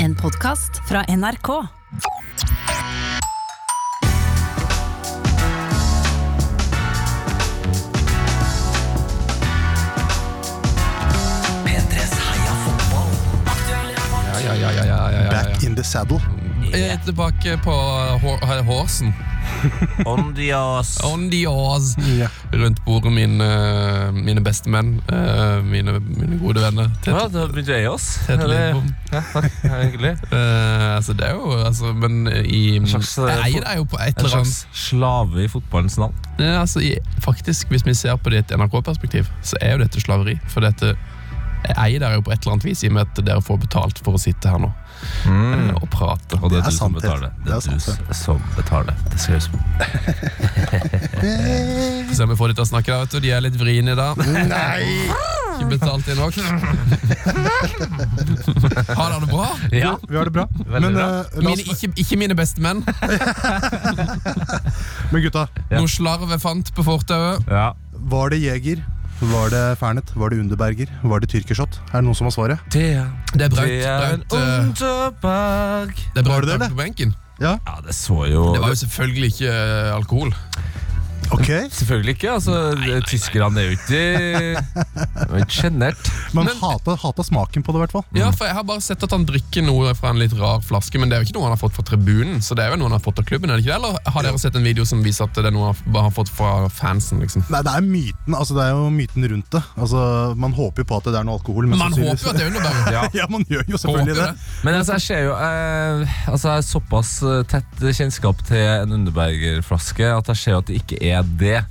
En podkast fra NRK. Ja, ja, ja, ja, ja, ja, ja, Back in the saddle. ja. Jeg er tilbake på hår- her- Horsen. On the ass. On the Oz. Rundt bordet mine, mine bestemenn. eh, Mine, mine gode venner. Tete, Ja, da begynte jeg oss. Tete Lidbom. Ja, takk. Ja, Hyggelig. Eh, altså, det er jo altså, Men i slags, eh, Jeg eier det jo på et En eller annet slags slave i fotballens navn. Nei, altså, i, Faktisk, hvis vi ser på det i et NRK-perspektiv, så er jo dette slaveri. For dette jeg eier dere jo på et eller annet vis, i og med at dere får betalt for å sitte her nå eh, og prate. Mm. Og Mm. Det er det, er du som sant, Peter. betaler. Det Det er er du sant, som betaler. Det skal jeg huske på. Eh. Få se om vi får de til å snakke, da, vet du. De er litt vriene i dag. Nei! Ikke betalt inn nok. Har dere det bra? Ja. Vi har det bra. Veldig Men, bra. eh, la Mine, oss, ikke, ikke mine bestemenn. men gutta, Ja. Noe slarv jeg fant på fortauet. ja. var det Jeger? Var det Fernet? Var det Underberger? Var det Tyrkershot? Er det noen som har svaret? Det er, Det er det er en braut. Braut, eh, underberg. det er Var braut det det, braut på benken. Ja, det så jo Det var jo selvfølgelig ikke eh, alkohol. Ok, Selvfølgelig ikke. altså Tyskerne er jo ikke de var ikke sjenert. Man Men- hata, hata smaken på det, i hvert fall. Ja, for Jeg har bare sett at han drikker noe fra en litt rar flaske, men det er jo ikke noe han har fått fra tribunen. Så det er jo noe han har fått av klubben, er det ikke det? Eller har dere sett en video som viser at det er noe han bare har fått fra fansen? liksom? Nei, det er myten altså det er jo myten rundt det. Altså, Man håper jo på at det er noe alkohol. Men Man håper sannsynligvis- jo at det er underbærer. Ja. Ja, man gjør jo selvfølgelig Håper det. det. Men altså, jeg ser jo eh, Altså, jeg har såpass eh, tett kjennskap til en Underberger-flaske at jeg ser jo at det ikke er det.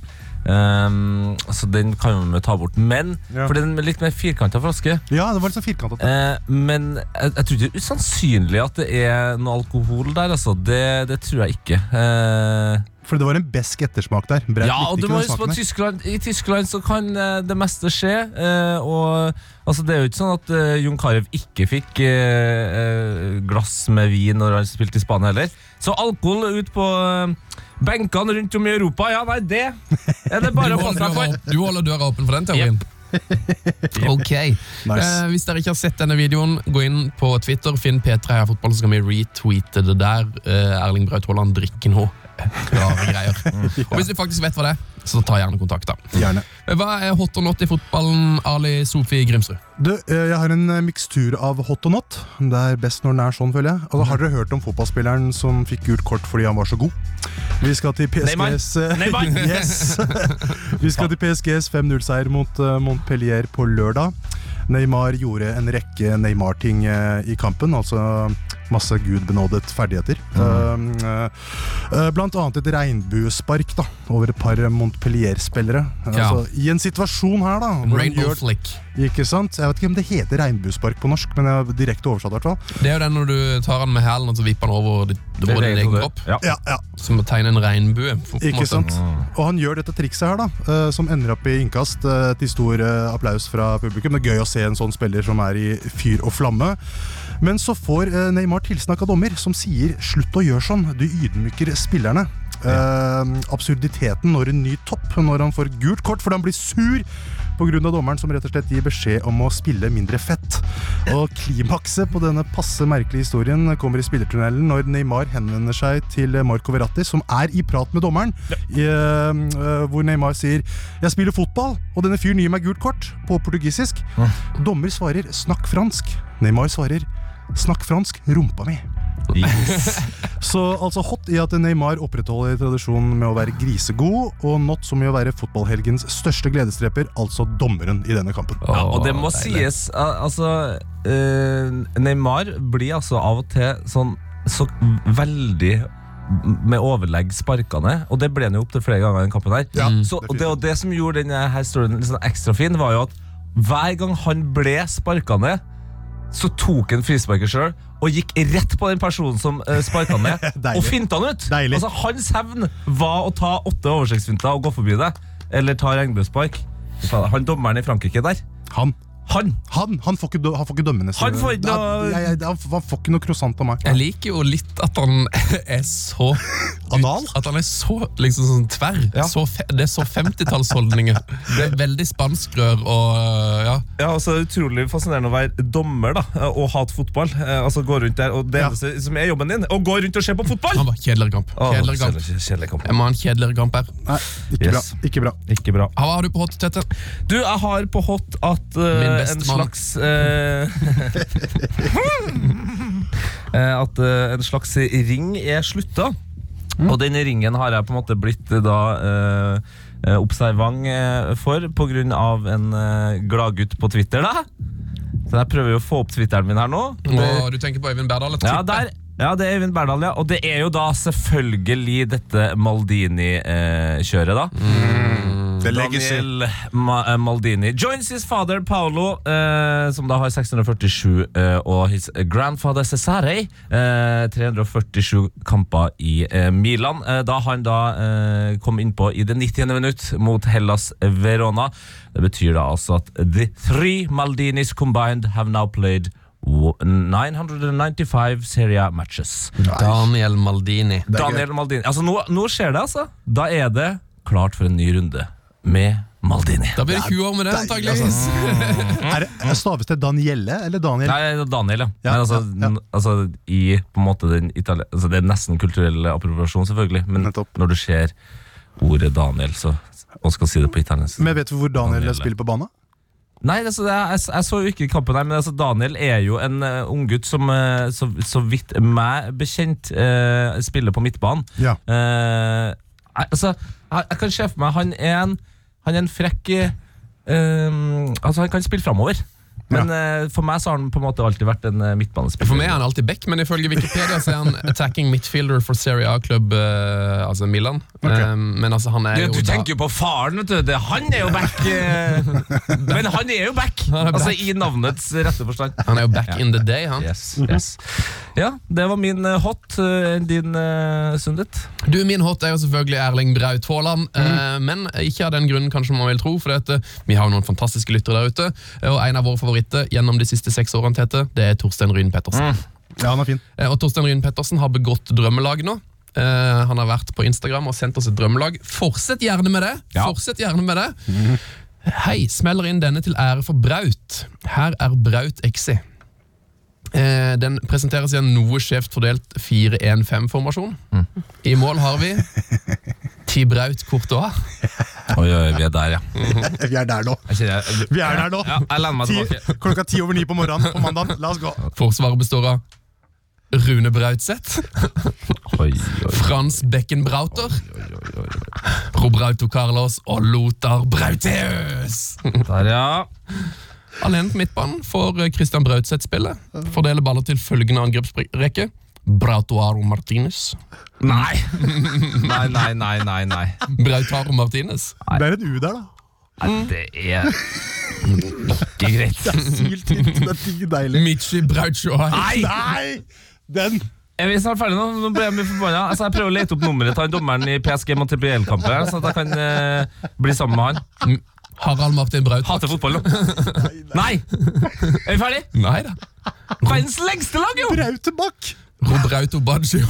Ehm, så den kan vi ta bort. Men Ja. For det er en litt mer firkanta flaske. Ja, det var litt sånn firkantet. Eh, men jeg, jeg tror det er usannsynlig at det er noe alkohol der, altså. Det, det tror jeg ikke. Eh, For det var en besk ettersmak der. Braut ja, og likte du ikke må den huske på smaken at der. Tyskland, I Tyskland så kan eh, det meste skje. eh, og altså, Det er jo ikke sånn at eh, Jon Carew ikke fikk eh, eh, glass med vin når han spilte i Spania heller. Så alkohol ut på eh, benkene rundt om i Europa, ja, nei, det er det Du bare holder, å passe døra, seg for. åp- du holder døra åpen for den teorien? Ok. Eh, Nice. hvis dere ikke har sett denne videoen, gå inn på Twitter, finn P3 her fotball, så kan vi retweete det der. Eh, Erling Braut Haaland drikker nå. Rare greier. Mm. Og hvis du faktisk vet hva det er, så ta gjerne kontakt. da. Eh, Gjerne. Hva er hot or not i fotballen, Ali Sofie Grimsrud? Du, eh, jeg har en eh, mikstur av hot og not. Det er best når den er sånn, føler jeg. Altså, har dere hørt om fotballspilleren som fikk gult kort fordi han var så god? Vi skal til Neymar. PSGs eh, Neymar. yes. Vi skal til PSGs 5-0-seier mot eh, Montpellier på lørdag. Neymar gjorde en rekke Neymar-ting eh, i kampen, altså masse gudbenådet ferdigheter. Eh, eh, Blant annet et regnbuespark da, over et par eh, Montpellier-spillere. Ja. Altså, I en situasjon her, da hvor han Rainbow gjør- flick. ikke sant? Jeg vet ikke om det heter regnbuespark på norsk, men jeg har direkte oversatt i hvert fall. Det er jo den når du tar den med hælen og så vipper den over, ditt- over din egen kropp. Ja. Ja, ja, Som å tegne en regnbue. på en ikke måte. sant? Og han gjør dette trikset her, da, eh, som ender opp i innkast eh, til stor eh, applaus fra publikum. Det er gøy å se en sånn spiller som er i fyr og flamme. Men så får eh, Neymar tilsnakk av dommer, som sier 'slutt å gjøre sånn', du ydmyker spillerne. Eh, absurditeten når en ny topp, når han får gult kort fordi han blir sur pga. dommeren, som rett og slett gir beskjed om å spille mindre fett. Og klimakset på denne passe merkelige historien kommer i spillertunnelen når Neymar henvender seg til Marco Verratti, som er i prat med dommeren, i, eh, eh, hvor Neymar sier 'Jeg spiller fotball, og denne fyren gir meg gult kort' på portugisisk. Dommer svarer 'snakk fransk'. Neymar svarer 'snakk fransk, rumpa mi'. Yes. Så altså hot i at Neymar opprettholder tradisjonen med å være grisegod, og not som i å være fotballhelgens største gledesdreper, altså dommeren i denne kampen. Åh, Ja, og det må deilig. sies al- Altså eh, Neymar blir altså av og til sånn så veldig med overlegg sparkende, og det ble han jo opptil flere ganger. i den kampen her Mm. Ja, så, og det, og det som gjorde denne her storyen litt sånn ekstra fin, var jo at hver gang han ble sparkende, så tok han frisparket sjøl og gikk rett på den personen som uh, sparka han ned, Deilig. og finta han ut. Deilig. Altså Hans hevn var å ta åtte oversiktsfinter og gå forbi deg, eller ta regnbuespark. Fy faen, Han dommeren i Frankrike der Han. han! Han, han, får ikke, dø- han får ikke dømmende Han får ikke noe- Ja, jeg- jeg- Han får ikke noe croissant av meg. Jeg liker jo litt at han er så Anal? At han er så liksom sånn tverr. Ja. Så fe, det er så 50-tallsholdninger. Det er veldig spanskrør og eh, ja. Ja, altså det er Utrolig fascinerende å være dommer da og hate fotball. Eh, Altså gå rundt der, og Det Ja. eneste som er jobben din, å gå rundt og se på fotball! Han var kjedeligere kamp. Åh, Kjedeligere kamp. kjedelig- kjedelig kamp. Jeg må ha en kjedeligere kamp her. Nei, ikke Yes. bra. Ikke bra. Ikke bra. Hva har du på hot tette? Du, jeg har på hot at eh, Min beste en mann. slags eh, eh, At eh, en slags ring er slutta. Mm. Og den ringen har jeg på en måte blitt eh, da eh, eh, observant eh, for pga. en eh, gladgutt på Twitter. da Så jeg prøver jo å få opp Twitteren min her nå. Og du tenker på Øyvind Berdal? et Ja, tippe. der. Ja, det er Øyvind Berdal, ja. Og det er jo da selvfølgelig dette Maldini-kjøret, da. The legacy. Daniel Ma eh, Maldini joins his father Paolo, eh, som da har 647, eh, og his grandfather Cesare, eh, 347 kamper i eh, Milan. Eh, da han da eh, kom innpå i det 90. minutt mot Hellas Verona. Det betyr da altså at the three Maldinis combined have now played wo- 995 Serie A matches. Daniel Maldini. er gøy. Daniel Maldini. Altså, nå, nå skjer det, altså. Da er det klart for en ny runde med Maldini. Da blir det 20 år med det, deilig, antageligvis. altså. Er det er staves det Danielle eller Daniel? Nei, det er Daniel, ja. Ja, Men altså, ja, ja. n- altså i på en måte den Itali altså, Det er nesten kulturell appropriasjon, selvfølgelig, men Nettopp. når du ser ordet Daniel, så og skal si det på italiensk Men vet du hvor Daniel Danielle. spiller på banen? Nei, altså, det er, jeg, jeg så jo ikke kampen her, men altså, Daniel er jo en uh, unggutt som eh, så, så vidt meg bekjent eh, spiller på midtbanen. Ja. Eh, jeg- altså, jeg, jeg kan se for meg han er en, han er en frekk eh, um, Altså, han kan spille framover. Men eh, for meg så har han på en måte alltid vært en eh, midtbanespiller. For meg er han alltid back, men ifølge Wikipedia så er han attacking midfielder for Serie A-klubb eh, altså Milan. Eh, men altså, han er du, jo du da- tenker jo på faren, vet du. Det, han er jo back. eh, men han er jo back! Han er Altså back. I navnets rette forstand. Han er jo back in the day, han. Yes, yes. Ja, det var min eh, hot. eh, Din eh, Sundet. Du, Min hot er jo selvfølgelig Erling Braut Haaland, eh, men ikke av den grunnen kanskje man vil tro. For at, eh, vi har jo noen fantastiske lyttere der ute, og en av våre favoritter gjennom de siste seks årene Tete, det er Torstein Ryen Pettersen. Ja, han er fin. Eh, Og Torstein Ryen Pettersen har begått drømmelag nå. Eh, han har vært på Instagram og sendt oss et drømmelag. Fortsett gjerne med det! Ja. Fortsett gjerne med det. Hei, smeller inn denne til ære for Braut. Her er Braut Exi. Eh, den presenteres i en noe skjevt fordelt 4-1-5-formasjon. I mål har vi Ti Braut Courtois. Oi, oi, vi er der, ja. Vi er der nå. Jeg kjenner jeg, Vi er der nå. ja, jeg lener meg Ti, tilbake. klokka ti over ni på morgenen på mandagen. La oss gå. Forsvaret består av Rune Brautseth, Oi, oi, Frans Beckenbrauter, oi, oi, oi. Robrauto Carlos og Lothar Brauteus. Der, ja. Alene på midtbanen får eh, Christian Brautseth spille. Fordeler baller til følgende angrepsrekke. Brautoaro Martinez. Nei. Nei, nei, nei, nei. nei. Brautaro Martinez. Det er en U der, da. Nei, Det er ikke greit. Sylt hint. Det er digg deilig. Michi Brautsjoai. Nei! Nei! Den! Er vi snart ferdige nå? Nå ble jeg mye forbanna. Altså, jeg prøver å lete opp nummeret til han dommeren i PSG mot TPL-kampen, her, sånn at jeg kan eh, bli sammen med han. Harald Martin Braut. Hater fotball nå. Nei! Er vi ferdige? Nei da. Verdens lengste lag, jo! Brautebakk! Robrauto Baggio.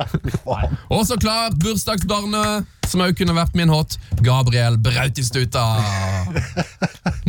Og så klart bursdagsbarnet, som òg kunne vært min hot, Gabriel Brautistuta.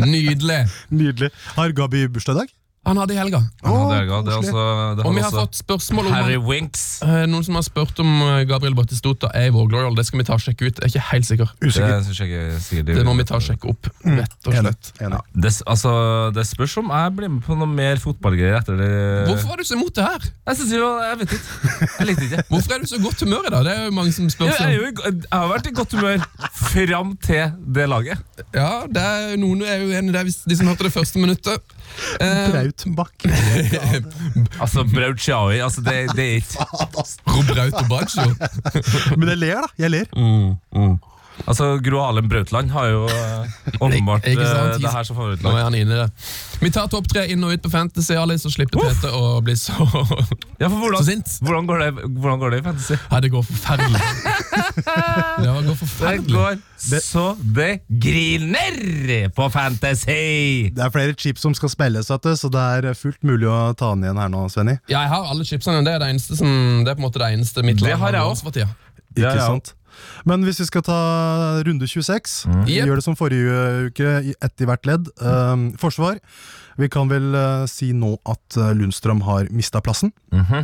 Nydelig. Nydelig. Har Gabi bursdag i dag? Han hadde i helga. Ja, det er galt. Det er altså, det Og vi har har også fått spørsmål om Harry han, Winks. Eh, noen som har spurt om eh, Gabriel Brautistuta er i vår Glorial. Det skal vi ta og sjekke ut. Jeg er ikke helt sikker. Det Usikker. synes jeg ikke sikkert Det må vi ta og sjekke opp, rett og Mm. Enig. slett. Enig. Det, altså, det spørs om jeg blir med på noe mer fotballgreier etter det. Eh, Hvorfor var du så imot det her? Jeg synes jo, jeg vet ikke. Jeg likte ikke. Hvorfor er du så godt humør i dag? Det er jo mange som spør Jeg, seg er om. jo, i go- jeg har vært i godt humør fram til det laget. Ja, det er noen er jo enig der, hvis de som hørte det første minuttet. Eh, Brautebakk. Altså, Brauciaui altså, det, det er ikke Robrauto Baggio. Men jeg ler, da. Jeg Mm. ler. Altså, Gro Harlem Brautland har jo eh, åpenbart Ikke sant? eh, det her som Nå favorittlag. er han inne i det. Vi tar topp tre inn og ut på Fantasy, Ali, så slipper Tete å bli så Ja, for Så hvordan, sint. hvordan, går det, hvordan går det i fantasy? Ja, det går forferdelig. Det går Det forferdelig. går så det griner på fantasy! Det er flere chips som skal spilles, vet du, så det er fullt mulig å ta den igjen her nå, Svenny. Ja, jeg har alle chipsene. Det er det eneste som Det er på en måte det eneste mitt Det lag har jeg nå også. for tida. Ikke Ja, ja. sant? Men hvis vi skal ta runde 26, Mm. vi Yep. gjør det som forrige uke, i ett i hvert ledd. Ehm, forsvar. Vi kan vel eh, si nå at eh, Lundstrøm har mista plassen. Mhm.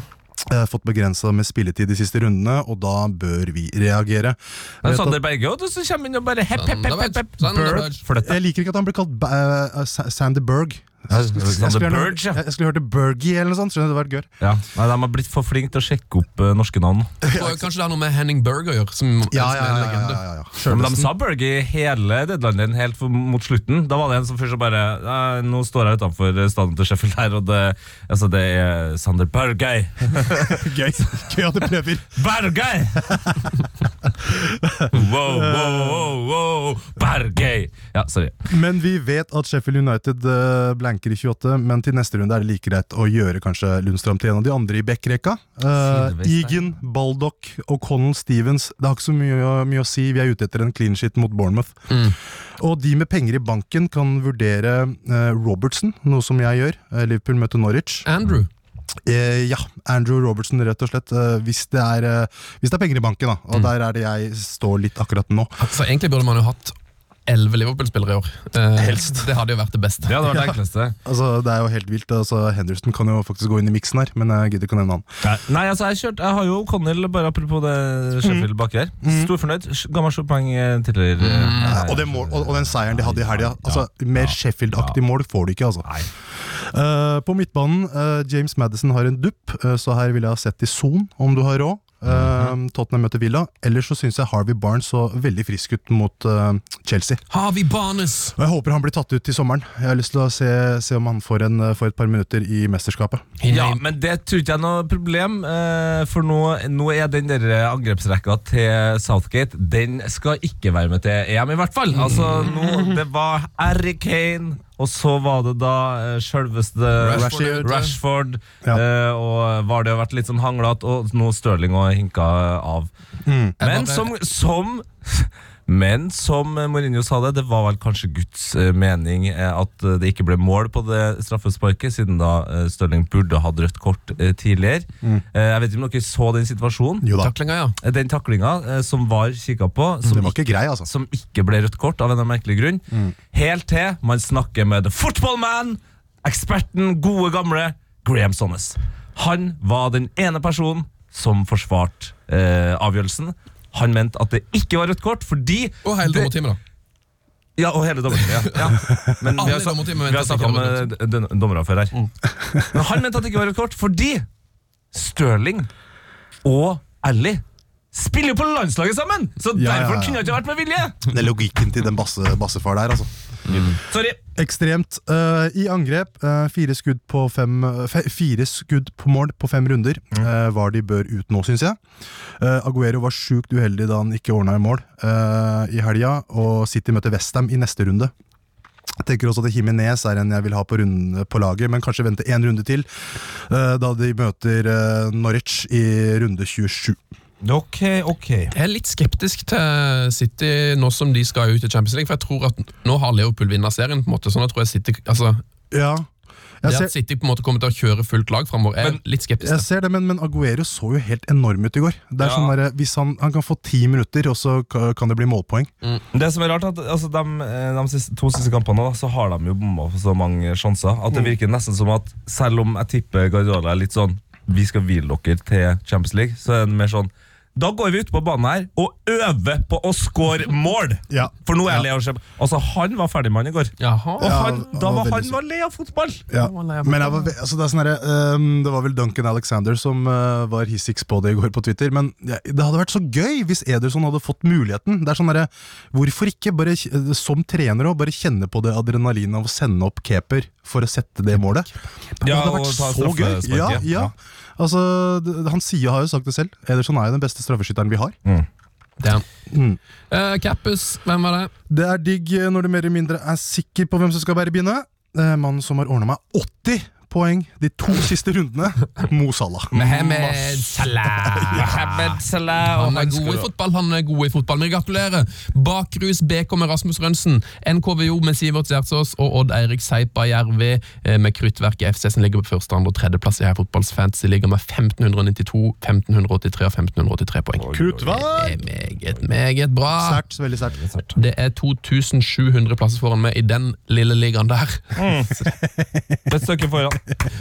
Eh, fått begrensa med spilletid de siste rundene, og da bør vi reagere. Eh, Jeg Men vet Sander Berge og du som kommer inn og bare hepp, hepp, hepp, hepp, hepp. Sander Bird. Berge. For at, jeg liker ikke at han blir kalt ba eh, Sa- Sander Berg. Jeg, jeg, jeg, Sander skulle gjerne- Berge, ja. jeg, jeg skulle hørt det Bergie eller noe sånt. Skjønner du, det hadde vært gøy. Ja, nei, De har blitt for flinke til å sjekke opp eh, norske navn. Jeg tror kanskje det har noe med Henning Berg å gjøre, som, som Ja, ja, er en ja, ja, legende. ja, ja. Ja, men de Sjølvesten. sa Berge i hele deadlinen helt for, mot slutten. Da var det en sånn som først bare «Nei, Nå står jeg utenfor stadion til Sheffield her, og det, altså, det er Sander Berge. Gøy. Gøy at du prøver. Berge! wow, wow, wow, wow, Berge! Ja, sorry. Men vi vet at Sheffield United eh, blanker i 28, men til neste runde er det like greit å gjøre kanskje Lundstrøm til en av de andre i backrekka. Uh, Silvestein. Egan, Baldock og Connell Stevens. Det har ikke så mye, å- mye å si, vi er ute etter en clean shit mot Bournemouth. Mm. Og de med penger i banken kan vurdere eh, Robertson, noe som jeg gjør. Eh, Liverpool møter Norwich. Andrew. Eh, ja, Andrew Robertson, rett og slett. eh, hvis, det er, eh, hvis det er penger i banken, da. Og der er det jeg står litt akkurat nå. Så egentlig burde man jo hatt elleve Liverpool-spillere i år. Eh, Det hadde jo vært det beste. Det hadde vært det enkleste. Altså, Det er jo helt vilt. altså Henderson kan jo faktisk gå inn i miksen her, men jeg gidder ikke å nevne han. Nei, altså jeg, kjørte, jeg har jo Connell, bare apropos det Sheffield baki her. Mm. Stor fornøyd. Ga meg sju poeng eh, tidligere. eh, Og, det mål, og, og den seieren de hadde i helga. Altså, mer Sheffield-aktig mål får du ikke, altså. Nei. Eh, på midtbanen, eh, James Madison har en dupp, eh, så her ville jeg ha sett i Son, om du har råd. Eh, Tottenham møter Villa. Ellers så syns jeg Harvey Barnes så veldig frisk ut mot eh, Chelsea. Harvey Barnes! Og Jeg håper han blir tatt ut til sommeren. Jeg har lyst til å se, se om han får, en, eh, får et par minutter i mesterskapet. He Ja, named- men det tror ikke jeg er noe problem, eh, for nå, nå er den der eh, angrepsrekka til Southgate Den skal ikke være med til EM, i hvert fall. Altså, nå, Det var Harry Kane, og så var det da eh, sjølveste Rashford er Rashford. ute. Ja. eh, og var det jo vært litt sånn hanglete, og nå Stirling og hinka av. Men Jeg som, bare- som men som Mourinho sa det, det var vel kanskje Guds eh, mening eh, at eh, det ikke ble mål på det straffesparket, siden da eh, Stirling burde hatt rødt kort eh, tidligere. Eh, Jeg vet ikke om dere så den situasjonen. Jo da. Taklinga, ja. Eh, Den taklinga eh, som VAR kikka på, som Den var ikke grei, altså. som ikke ble rødt kort av en eller annen merkelig grunn. Helt til man snakker med the football man, eksperten, gode gamle Graham Sonnes. Han var den ene personen som forsvarte eh, avgjørelsen. Han mente at det ikke var rødt kort fordi Og hele det- dommerteamet, da. Ja, og hele dommerteamet. Ja. Ja. Men vi Alle har, i sa- dommerteamet mente at vi har det ikke snakka var rødt med d- d- dommere før her. Men han mente at det ikke var rødt kort fordi Stirling og Ally spiller jo på landslaget sammen! Så Ja, ja, derfor ja. kunne det ikke vært med vilje! Det er logikken til den basse, bassefar der, altså. Sorry. Ekstremt. Eh, I angrep, eh, fire, skudd på fem, fe, fire skudd på mål på fem runder eh, var de bør ut nå, syns jeg. Eh, Aguero var sjukt uheldig da han ikke ordna i mål eh, i helga, og City møter Westham i neste runde. Jeg tenker også at Jimenez er en jeg vil ha på, runde, på laget, men kanskje vente én runde til, eh, da de møter eh, Norwich i runde 27. Ok, eh, ok. Jeg er litt skeptisk til City nå som de skal ut i Champions League. For jeg tror at nå har Leopold vunnet serien. på en måte Sånn jeg tror jeg City, altså, Ja, Det jeg ser, at City på en måte kommer til å kjøre fullt lag framover, er Men- litt skeptisk. Jeg ser det, men, men Aguero så jo helt enorm ut i går. Det er Ja. sånn der, hvis han, han kan få ti minutter, og så ka- kan det bli målpoeng. Det som er rart, er at altså, de, de siste, to siste kampene da, så har de jo bomma på så mange sjanser at det Mm. virker nesten som at selv om jeg tipper Guardiola er litt sånn Vi skal hvile dere til Champions League, så er det mer sånn Da går vi ut på banen her og øver på å score mål! Ja. For nå Ja. er jeg lei av Shep. Altså, han var ferdig med han i går. Jaha. Og Ja, han, han da var var veldig han sur. var lei av fotball! Ja. var lei av Men jeg var, ve- altså det, er sånn der, ehm, det var vel Duncan Alexander som eh, var hissix på det i går på Twitter. Men ja, det hadde vært så gøy hvis Ederson hadde fått muligheten. Det er sånn der, Hvorfor ikke, bare, k- eh, som trener, også, bare kjenne på det adrenalinet av å sende opp keeper for å sette det målet? Det Ja, hadde og vært ta så straffesparket. gøy! Ja, ja. Ja. Altså, det- han sier, har jo sagt det selv. Ederson er jo den beste straffeskytteren vi har. Damn. Mm. Eh, Kappus, hvem var det? Det er digg når du mer eller mindre er sikker på hvem som skal bære bindet. Eh, Mannen som har ordna meg 80 på poeng de to siste rundene. Mo Salah. Mohamed Salah. Mohamed Salah, og Han er skal god i jo- fotball, han er god i fotball. Men gratulerer! Bakrus BK med Rasmus Rønsen, NKVO med Sivert Gjertsås og Odd Eirik Seipa Jervi eh, med Kruttverket FC, som ligger på første, andre og tredjeplass i her fotballs fantasy, ligger med 1592, 1583 og 1583 poeng. Kruttvær! Det er meget, meget bra. Sært, veldig sært. Det er 2700 plasser foran meg i den lille ligaen der. Et stykke foran.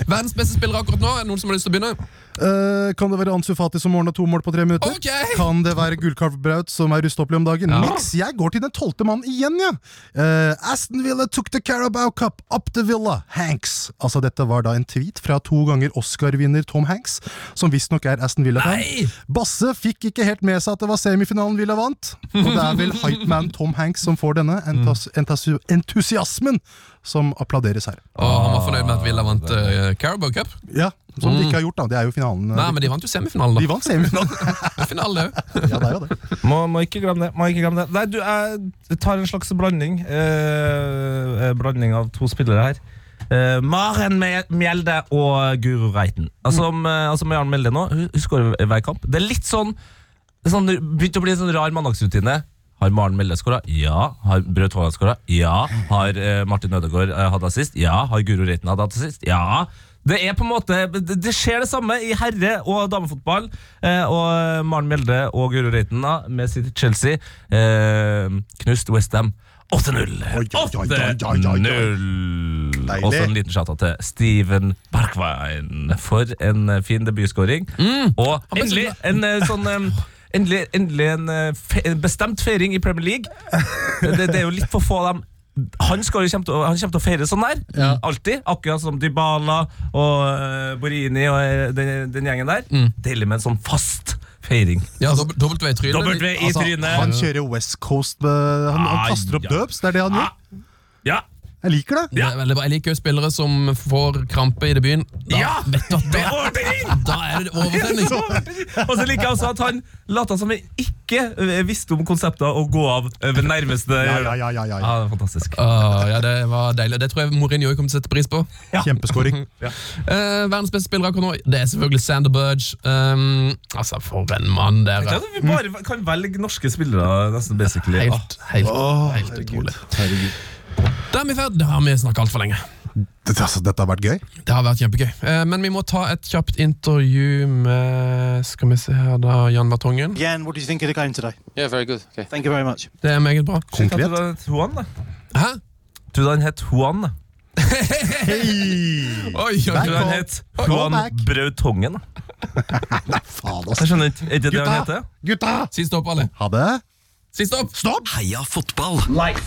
Verdens beste spiller akkurat nå. Er det noen som har lyst til å begynne? Eh, kan det være Ansu Fati som ordna to mål på tre minutter? Ok! Kan det være Gullkalvbraut som er rustoppelig om dagen? Niks! Jeg går til den tolvte mannen igjen, jeg! Ja. Eh, Aston Villa took the Carabao Cup up to Villa, Hanks. Altså, dette var da en tweet fra to ganger Oscar-vinner Tom Hanks, som visstnok er Aston Villa-fan. Nei! Basse fikk ikke helt med seg at det var semifinalen Villa vant, og det er vel hypeman Tom Hanks som får denne entas entas entusiasmen som applauderes her. Å, han var fornøyd med at Villa vant eh, Carabao Cup. Ja, Som de ikke har gjort, da. Det er jo finalen. eh, Nei, men de vant jo semifinalen, De da. vant semifinalen! Finale òg. ja, det er jo det. Må, må ikke glemme det. må ikke glemme det Nei, du, Jeg tar en slags blanding. Eh, eh, blanding av to spillere her. Eh, Maren Me- Mjelde og Guro Reiten. Altså, om, eh, altså Maren Mjelde nå, hun, hun skårer hver kamp. Det er litt sånn, det er sånn Det begynte å bli en sånn rar mandagsrutine. Har Maren Mjelde skåra? Ja. Har Braut Haaland skåra? Ja. Har eh, Martin Ødegaard eh, hatt assist? Ja. Har Guro Reiten hatt assist? Ja. Det er på en måte, det det skjer det samme i herre- og damefotball. Eh, og Maren Mjelde og Guro Reiten da, med sitt Chelsea eh, knust Westham Oi, 8-0. oi, oi, oi, oi, oi, oi. 8-0. Deilig. Og så en liten chatta til Steven Barkveien. For en eh, fin debutskåring. Og men så endelig en eh, sånn em, Endelig, endelig en, eh, fe en bestemt feiring i Premier League. Det, det er jo litt for få av dem. Han, skal jo kjempe, til å- han kommer til å feire sånn der. Alltid. Akkurat som Dybala og eh, Borini og eh, den, den gjengen der. Deilig med en sånn fast feiring. Ja, dob- dobbelt V i trynet. Dobbelt V i Altså, trynet. Han kjører West Coast eh, Han, han Ai, kaster opp ja. døps, det er det han gjør. Ja. Jeg liker det. Det er veldig bra. Jeg liker jo spillere som får krampe i debuten. Da, Ja! vet du, at Det er da, overtenning! da er det overtenning. Og så liker jeg også at han later som han ikke eh, visste om konseptet å gå av eh, ved nærmeste Ja, Ah, ja, ja, ja, ja, Ja, det er fantastisk. Åh, Ah, ja, det var deilig. Det tror jeg Mourinho kommer til å sette pris på. ja. Kjempeskåring. Eh, verdens beste spiller akkurat nå, det er selvfølgelig Sander Budge. Um, altså, for en mann der. Ja, er. vi bare kan velge norske spillere, nesten basically. Helt, helt, helt utrolig. Da er vi ferdig. Da har vi snakka altfor lenge. Dette, altså, dette har vært gøy. Det har vært kjempegøy. Eh, men vi må ta et kjapt intervju med Skal vi se her, da. Jan Vartongen. Jan, what do you think of the game today? Yeah, very good. Okay. Thank you very much. Det er meget bra. Jeg tror Konkret. han het Juan, da. Hæ? Tror du han het Juan? da? Hei! Oi, oi, Tror du oi. han het Call Juan back. Brautongen? da? Faen, ass. Jeg skjønner ikke, er ikke det han Gutta! heter? Gutta! Siste opp, alle. Ha det. Siste opp. Stopp! Life.